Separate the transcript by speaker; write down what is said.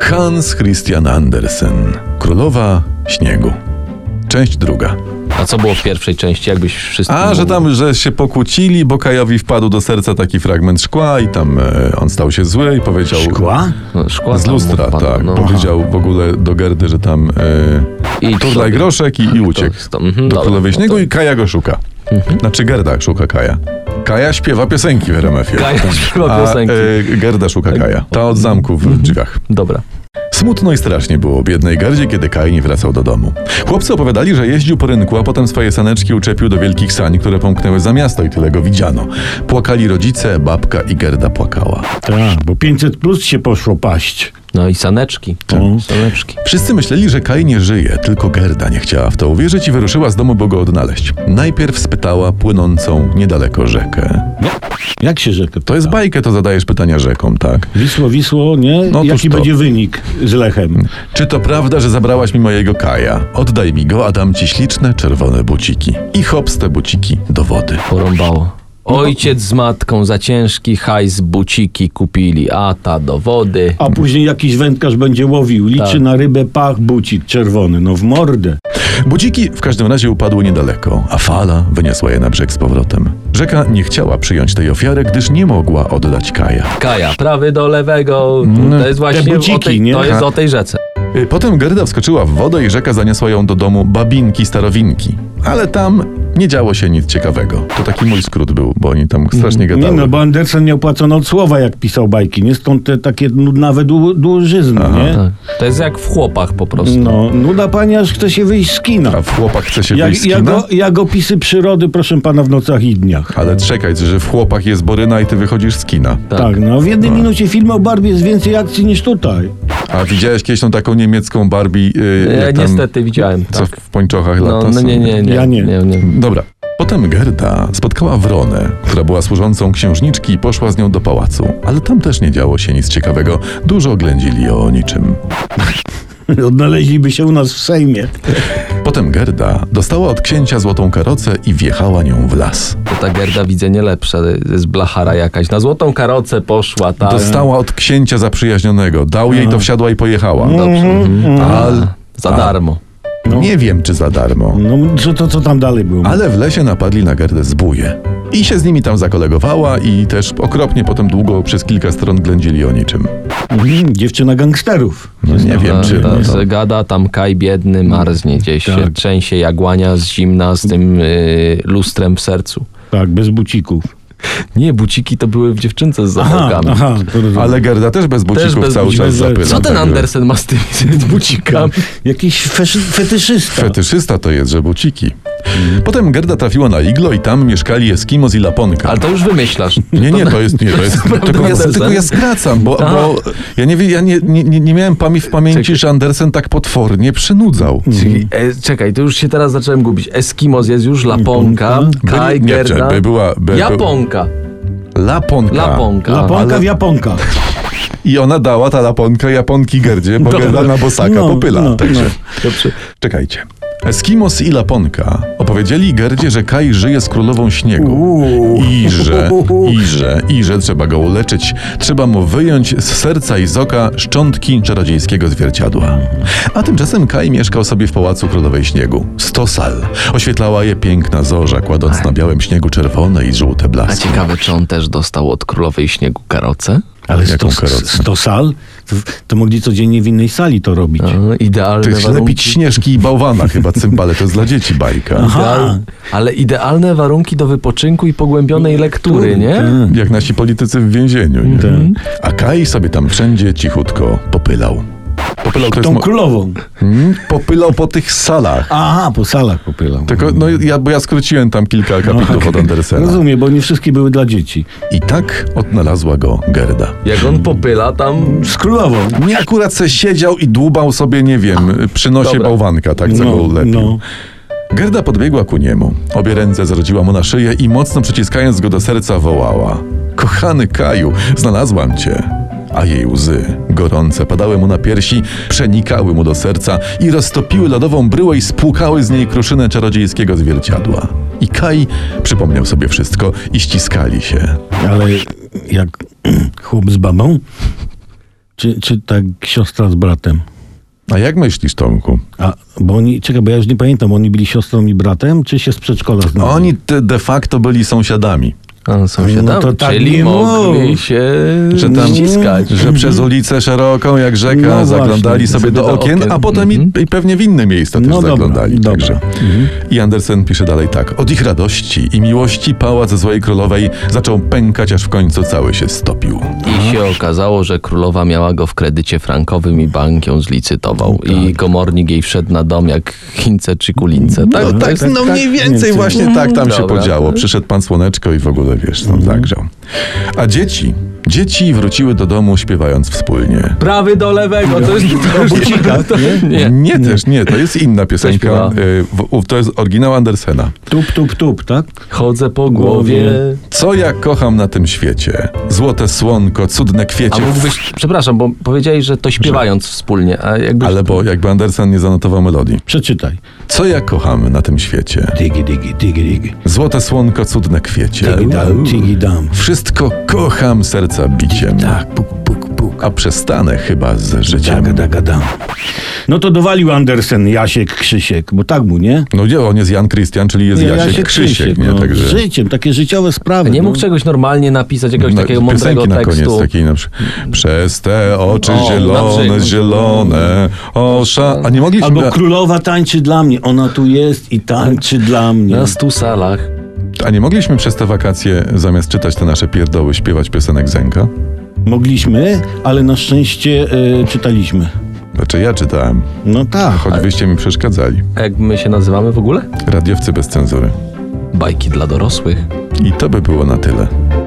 Speaker 1: Hans Christian Andersen. Królowa śniegu. Część druga.
Speaker 2: A co było w pierwszej części, jakbyś wszystko.
Speaker 1: A, że tam, że się pokłócili, bo Kajowi wpadł do serca taki fragment szkła i tam e, on stał się zły i powiedział...
Speaker 3: Szkła?
Speaker 2: No, szkła
Speaker 1: Z
Speaker 2: tam
Speaker 1: lustra,
Speaker 2: odpadła,
Speaker 1: tak.
Speaker 2: no.
Speaker 1: Powiedział w ogóle do Gerdy, że tam
Speaker 2: I
Speaker 1: e, turlaj
Speaker 2: sobie.
Speaker 1: groszek i, i uciekł
Speaker 2: to- mhm,
Speaker 1: do
Speaker 2: dobra,
Speaker 1: Królowej
Speaker 2: no
Speaker 1: Śniegu
Speaker 2: to- Mhm.
Speaker 1: i Kaja go szuka. Znaczy Gerda szuka Kaja. Kaja śpiewa piosenki w RMF-ie.
Speaker 2: Kaja śpiewa
Speaker 1: A,
Speaker 2: piosenki. Tak.
Speaker 1: e, Gerda szuka Kaja. Ta od zamku w drzwiach.
Speaker 2: Dobra.
Speaker 1: Smutno i strasznie było biednej Gerdzie, kiedy Kaj nie wracał do domu. Chłopcy opowiadali, że jeździł po rynku, a potem swoje saneczki uczepił do wielkich sań, które pomknęły za miasto i tyle go widziano. Płakali rodzice, babka i Gerda płakała.
Speaker 3: Tak, bo 500 plus się poszło paść.
Speaker 2: No i saneczki.
Speaker 1: Mhm.
Speaker 3: No.
Speaker 2: Saneczki.
Speaker 1: Wszyscy myśleli, że Kaj nie żyje, tylko Gerda nie chciała w to uwierzyć i wyruszyła z domu, by go odnaleźć. Najpierw spytała płynącą niedaleko rzekę.
Speaker 3: Jak się rzekę?
Speaker 1: To jest bajkę, to zadajesz pytania rzekom, tak?
Speaker 3: Wisło, Wisło, nie?
Speaker 1: No,
Speaker 3: Jaki
Speaker 1: tuż to.
Speaker 3: będzie wynik z Lechem?
Speaker 1: Czy to prawda, że zabrałaś mi mojego Kaja? Oddaj mi go, a dam ci śliczne czerwone buciki. I hops te buciki do wody.
Speaker 2: Porąbało.
Speaker 1: No.
Speaker 2: Ojciec z matką za ciężki hajs buciki kupili, a ta do wody.
Speaker 1: Mm.
Speaker 3: A później jakiś wędkarz będzie łowił, liczy
Speaker 2: Tak.
Speaker 3: na rybę, pach, bucik czerwony, no w mordę.
Speaker 1: Budziki w każdym razie upadły niedaleko, a fala wyniosła je na brzeg z powrotem. Rzeka nie chciała przyjąć tej ofiary, gdyż nie mogła oddać Kaja.
Speaker 2: Kaja, prawy do lewego.
Speaker 1: No,
Speaker 2: To jest właśnie o,
Speaker 3: buciki,
Speaker 2: tej,
Speaker 3: nie?
Speaker 2: To jest
Speaker 1: Tak.
Speaker 2: o tej rzece.
Speaker 1: Y, Potem Gerda wskoczyła w wodę i rzeka zaniosła ją do domu babinki starowinki. Ale tam nie działo się nic ciekawego. To taki mój skrót był, bo oni tam strasznie
Speaker 3: Nie
Speaker 1: gadały.
Speaker 3: no, bo Andersen miał płacone od słowa, jak pisał bajki, nie? Stąd te takie nudnawe dłu- dłużyzny, nie?
Speaker 2: Tak. To jest jak w chłopach po prostu.
Speaker 1: Mm,
Speaker 3: No, nuda pani aż chce się wyjść z kina.
Speaker 1: A w chłopach chce się wyjść
Speaker 3: Jak,
Speaker 1: z kina? Tak.
Speaker 3: jak, o- jak opisy przyrody, proszę pana, w nocach i dniach.
Speaker 1: Ale czekaj, że w chłopach jest Boryna i ty wychodzisz z kina.
Speaker 2: Tak.
Speaker 3: Tak, no w jednej minucie filmu o Barbie jest więcej akcji niż tutaj.
Speaker 1: A widziałeś kiedyś tą taką niemiecką Barbie? Yy,
Speaker 2: Ja
Speaker 1: jak tam,
Speaker 2: niestety widziałem.
Speaker 1: Co
Speaker 2: Tak.
Speaker 1: w pończochach lata
Speaker 2: No, no
Speaker 1: są?
Speaker 2: nie, nie, nie.
Speaker 3: Ja nie.
Speaker 2: nie, nie.
Speaker 1: Dobra. Potem Gerda spotkała Wronę, która była służącą księżniczki i poszła z nią do pałacu. Ale tam też nie działo się nic ciekawego. Dużo oględzili o niczym.
Speaker 3: Odnaleźliby się u nas w Sejmie.
Speaker 1: Potem Gerda dostała od księcia złotą karocę i wjechała nią w las.
Speaker 2: To ta Gerda widzę nie lepsza, jest blachara jakaś. Na złotą karocę poszła, tak.
Speaker 1: Dostała od księcia zaprzyjaźnionego. Dał jej to, wsiadła i pojechała.
Speaker 2: Dobrze.
Speaker 3: Mhm.
Speaker 1: Al...
Speaker 2: Mhm. Za darmo.
Speaker 1: Nie wiem, czy za darmo.
Speaker 3: No, co, to co tam dalej było?
Speaker 1: Ale w lesie napadli na Gerdę zbóje. I się z nimi tam zakolegowała i też okropnie potem długo przez kilka stron ględzili o niczym.
Speaker 3: Mhm, dziewczyna gangsterów.
Speaker 1: No, nie wiem,
Speaker 2: Ta,
Speaker 1: czy...
Speaker 2: ta,
Speaker 1: no,
Speaker 2: se Tak, Gada tam Kaj biedny marznie gdzieś,
Speaker 3: Tak.
Speaker 2: się trzęsie jagłania z zimna z tym y, lustrem w sercu.
Speaker 3: Tak, bez bucików.
Speaker 2: Nie, buciki to były w dziewczynce z zapałkami.
Speaker 3: aha, to rozumiem.
Speaker 1: Ale Gerda też bez bucików
Speaker 2: bez
Speaker 1: cały
Speaker 2: bucików.
Speaker 1: czas zapyla.
Speaker 2: Co ten
Speaker 1: Tak, że
Speaker 2: Andersen ma z tymi z bucikami?
Speaker 3: Jakiś feszy- fetyszysta.
Speaker 1: Fetyszysta to jest, że buciki. Potem Gerda trafiła na iglo i tam mieszkali Eskimos i Laponka.
Speaker 2: Ale to już wymyślasz.
Speaker 1: Nie, nie, to jest... Nie, to jest tylko, ja,
Speaker 2: Andersen.
Speaker 1: tylko ja skracam, bo, bo ja, nie, wie- ja nie, nie, nie nie miałem pami w pamięci,
Speaker 2: Tak. Czekaj.
Speaker 1: że Andersen tak potwornie przynudzał.
Speaker 2: E, czekaj, to już się teraz zacząłem gubić. Eskimos jest już, Laponka, Kaj,
Speaker 1: nie,
Speaker 2: Gerda.
Speaker 1: by była- by- by-
Speaker 2: Japonka,
Speaker 1: Laponka.
Speaker 2: Laponka.
Speaker 3: Laponka
Speaker 2: Ale-
Speaker 3: w Japonka.
Speaker 1: I ona dała, ta Laponka, Japonki Gerdzie, bo
Speaker 2: Dobra.
Speaker 1: Gerda na bosaka
Speaker 3: No,
Speaker 1: popyla.
Speaker 3: no,
Speaker 1: Także
Speaker 3: no.
Speaker 2: Dobrze.
Speaker 1: czekajcie. Eskimos i Laponka opowiedzieli Gerdzie, że Kai żyje z królową śniegu.
Speaker 3: Uuu.
Speaker 1: I że, i że, i że trzeba go uleczyć. Trzeba mu wyjąć z serca i z oka szczątki czarodziejskiego zwierciadła. A tymczasem Kai mieszkał sobie w pałacu królowej śniegu. Sto sal. Oświetlała je piękna zorza, kładąc na białym śniegu czerwone i żółte
Speaker 2: A
Speaker 1: blaski.
Speaker 2: ciekawe, czy on też dostał od królowej śniegu karocę?
Speaker 3: Ale
Speaker 1: Jaką
Speaker 3: 100,
Speaker 1: karocę?
Speaker 3: 100 sal? To, to mogli codziennie w innej sali to robić.
Speaker 2: A,
Speaker 1: To
Speaker 2: E, idealne
Speaker 1: jest lepić
Speaker 2: warunki.
Speaker 1: śnieżki i bałwana chyba, cymbale, to jest dla dzieci bajka.
Speaker 3: Aha.
Speaker 2: Ale idealne warunki do wypoczynku i pogłębionej lektury, nie?
Speaker 3: Tak.
Speaker 1: Jak nasi politycy w więzieniu. Nie?
Speaker 3: Tak.
Speaker 1: A Kai sobie tam wszędzie cichutko popylał. Popylał to jest
Speaker 3: Tą
Speaker 1: mo-
Speaker 3: królową.
Speaker 1: Mm, popylał po tych salach.
Speaker 3: Aha, po salach popylał.
Speaker 1: Tylko, no ja, bo ja skróciłem tam kilka
Speaker 3: No,
Speaker 1: akapitów od Andersena.
Speaker 3: Rozumiem, bo nie wszystkie były dla dzieci.
Speaker 1: I tak odnalazła go Gerda.
Speaker 2: Jak on popyla tam...
Speaker 3: Z królową.
Speaker 1: Nie akurat se siedział i dłubał sobie, nie wiem, przy nosie
Speaker 2: Dobra.
Speaker 1: bałwanka, tak co go lepił.
Speaker 3: no.
Speaker 1: Gerda podbiegła ku niemu. Obie ręce zrodziła mu na szyję i mocno przyciskając go do serca wołała. Kochany Kaju, znalazłam cię. A jej łzy, gorące, padały mu na piersi, przenikały mu do serca i roztopiły lodową bryłę i spłukały z niej kruszynę czarodziejskiego zwierciadła. I Kaj przypomniał sobie wszystko i ściskali się.
Speaker 3: Ale jak chłop z babą? Czy, czy tak siostra z bratem?
Speaker 1: A jak myślisz, Tomku?
Speaker 3: A, bo oni, czekaj, bo ja już nie pamiętam, oni byli siostrą i bratem, czy się z przedszkola znali?
Speaker 1: Oni te de facto byli sąsiadami.
Speaker 2: A, sąsiadami,
Speaker 3: No to tak
Speaker 2: czyli
Speaker 3: nie
Speaker 2: mogli
Speaker 3: mów.
Speaker 2: się
Speaker 1: Że tam-
Speaker 2: ściskać.
Speaker 1: Że przez ulicę szeroką, jak rzeka,
Speaker 3: Mhm. No
Speaker 1: zaglądali
Speaker 3: właśnie,
Speaker 1: sobie do okien, a potem i, i pewnie w inne miejsca też
Speaker 3: Mhm. No dobra,
Speaker 1: zaglądali.
Speaker 3: dobra. Mhm.
Speaker 1: Także. I Andersen pisze dalej tak. Od ich radości i miłości pałac Złej Królowej zaczął pękać, aż w końcu cały się stopił.
Speaker 2: I się okazało, że królowa miała go w kredycie frankowym i bank ją zlicytował. I komornik jej wszedł na dom jak Chińce czy Kulince. Tak,
Speaker 1: No,
Speaker 2: tak,
Speaker 1: tak,
Speaker 3: tak,
Speaker 1: no
Speaker 3: tak,
Speaker 1: mniej
Speaker 3: mniej
Speaker 1: więcej
Speaker 3: więcej.
Speaker 1: właśnie tak tam się
Speaker 2: Dobra.
Speaker 1: podziało. Przyszedł pan Słoneczko i w ogóle wiesz, tam zagrzał. A dzieci, dzieci wróciły do domu śpiewając wspólnie.
Speaker 2: Prawy do lewego, No, to jest Mm. do bucika. To,
Speaker 1: Nie,
Speaker 2: nie.
Speaker 1: też, nie, to jest inna piosenka.
Speaker 2: śpiewa?
Speaker 1: Y, w- To jest oryginał Andersena.
Speaker 3: Tup, tup, tup, tak?
Speaker 2: Chodzę po głowie.
Speaker 1: Co ja kocham na tym świecie? Złote słonko, cudne
Speaker 2: A
Speaker 1: kwiecie.
Speaker 2: mógłbyś, przepraszam, bo powiedziałeś, że to śpiewając wspólnie, a jakbyś...
Speaker 1: Ale bo jakby Andersen nie zanotował melodii.
Speaker 3: Przeczytaj.
Speaker 1: Co ja kocham na tym świecie?
Speaker 3: Digi, digi, digi, digi.
Speaker 1: Złote słonko, cudne kwiecie.
Speaker 3: Digi dam, digi dam.
Speaker 1: Wszystko kocham serca biciem.
Speaker 3: Tak, puk, puk, puk.
Speaker 1: A przestanę chyba z życiem.
Speaker 2: Tak,
Speaker 3: Daga, daga, dam. No to dowalił Andersen, Jasiek, Krzysiek, bo tak mu, nie?
Speaker 1: No nie, on jest Jan Christian, czyli jest
Speaker 3: Nie,
Speaker 1: Jasiek, Krzysiek, nie?
Speaker 3: no,
Speaker 1: Także
Speaker 3: Z życiem, takie życiowe sprawy.
Speaker 2: Nie
Speaker 3: no.
Speaker 2: mógł czegoś normalnie napisać, jakiegoś
Speaker 1: Mhm. no,
Speaker 2: takiego mądrego
Speaker 1: piosenki na
Speaker 2: tekstu. Mm.
Speaker 1: koniec takiej na przykład. Przez te oczy
Speaker 2: O, na
Speaker 1: zielone,
Speaker 2: brzegu.
Speaker 1: zielone, osza. A nie mogliśmy.
Speaker 3: Albo królowa tańczy dla mnie. Ona tu jest i tańczy dla mnie. no.
Speaker 2: Na stu salach.
Speaker 1: A nie mogliśmy przez te wakacje, zamiast czytać te nasze pierdoły, śpiewać piosenek Zenka?
Speaker 3: Mogliśmy, ale na szczęście e, czytaliśmy.
Speaker 1: Znaczy ja czytałem,
Speaker 3: No tak.
Speaker 1: choć wyście mi przeszkadzali.
Speaker 2: A jak my się nazywamy w ogóle?
Speaker 1: Radiowcy bez cenzury.
Speaker 2: Bajki dla dorosłych.
Speaker 1: I to by było na tyle.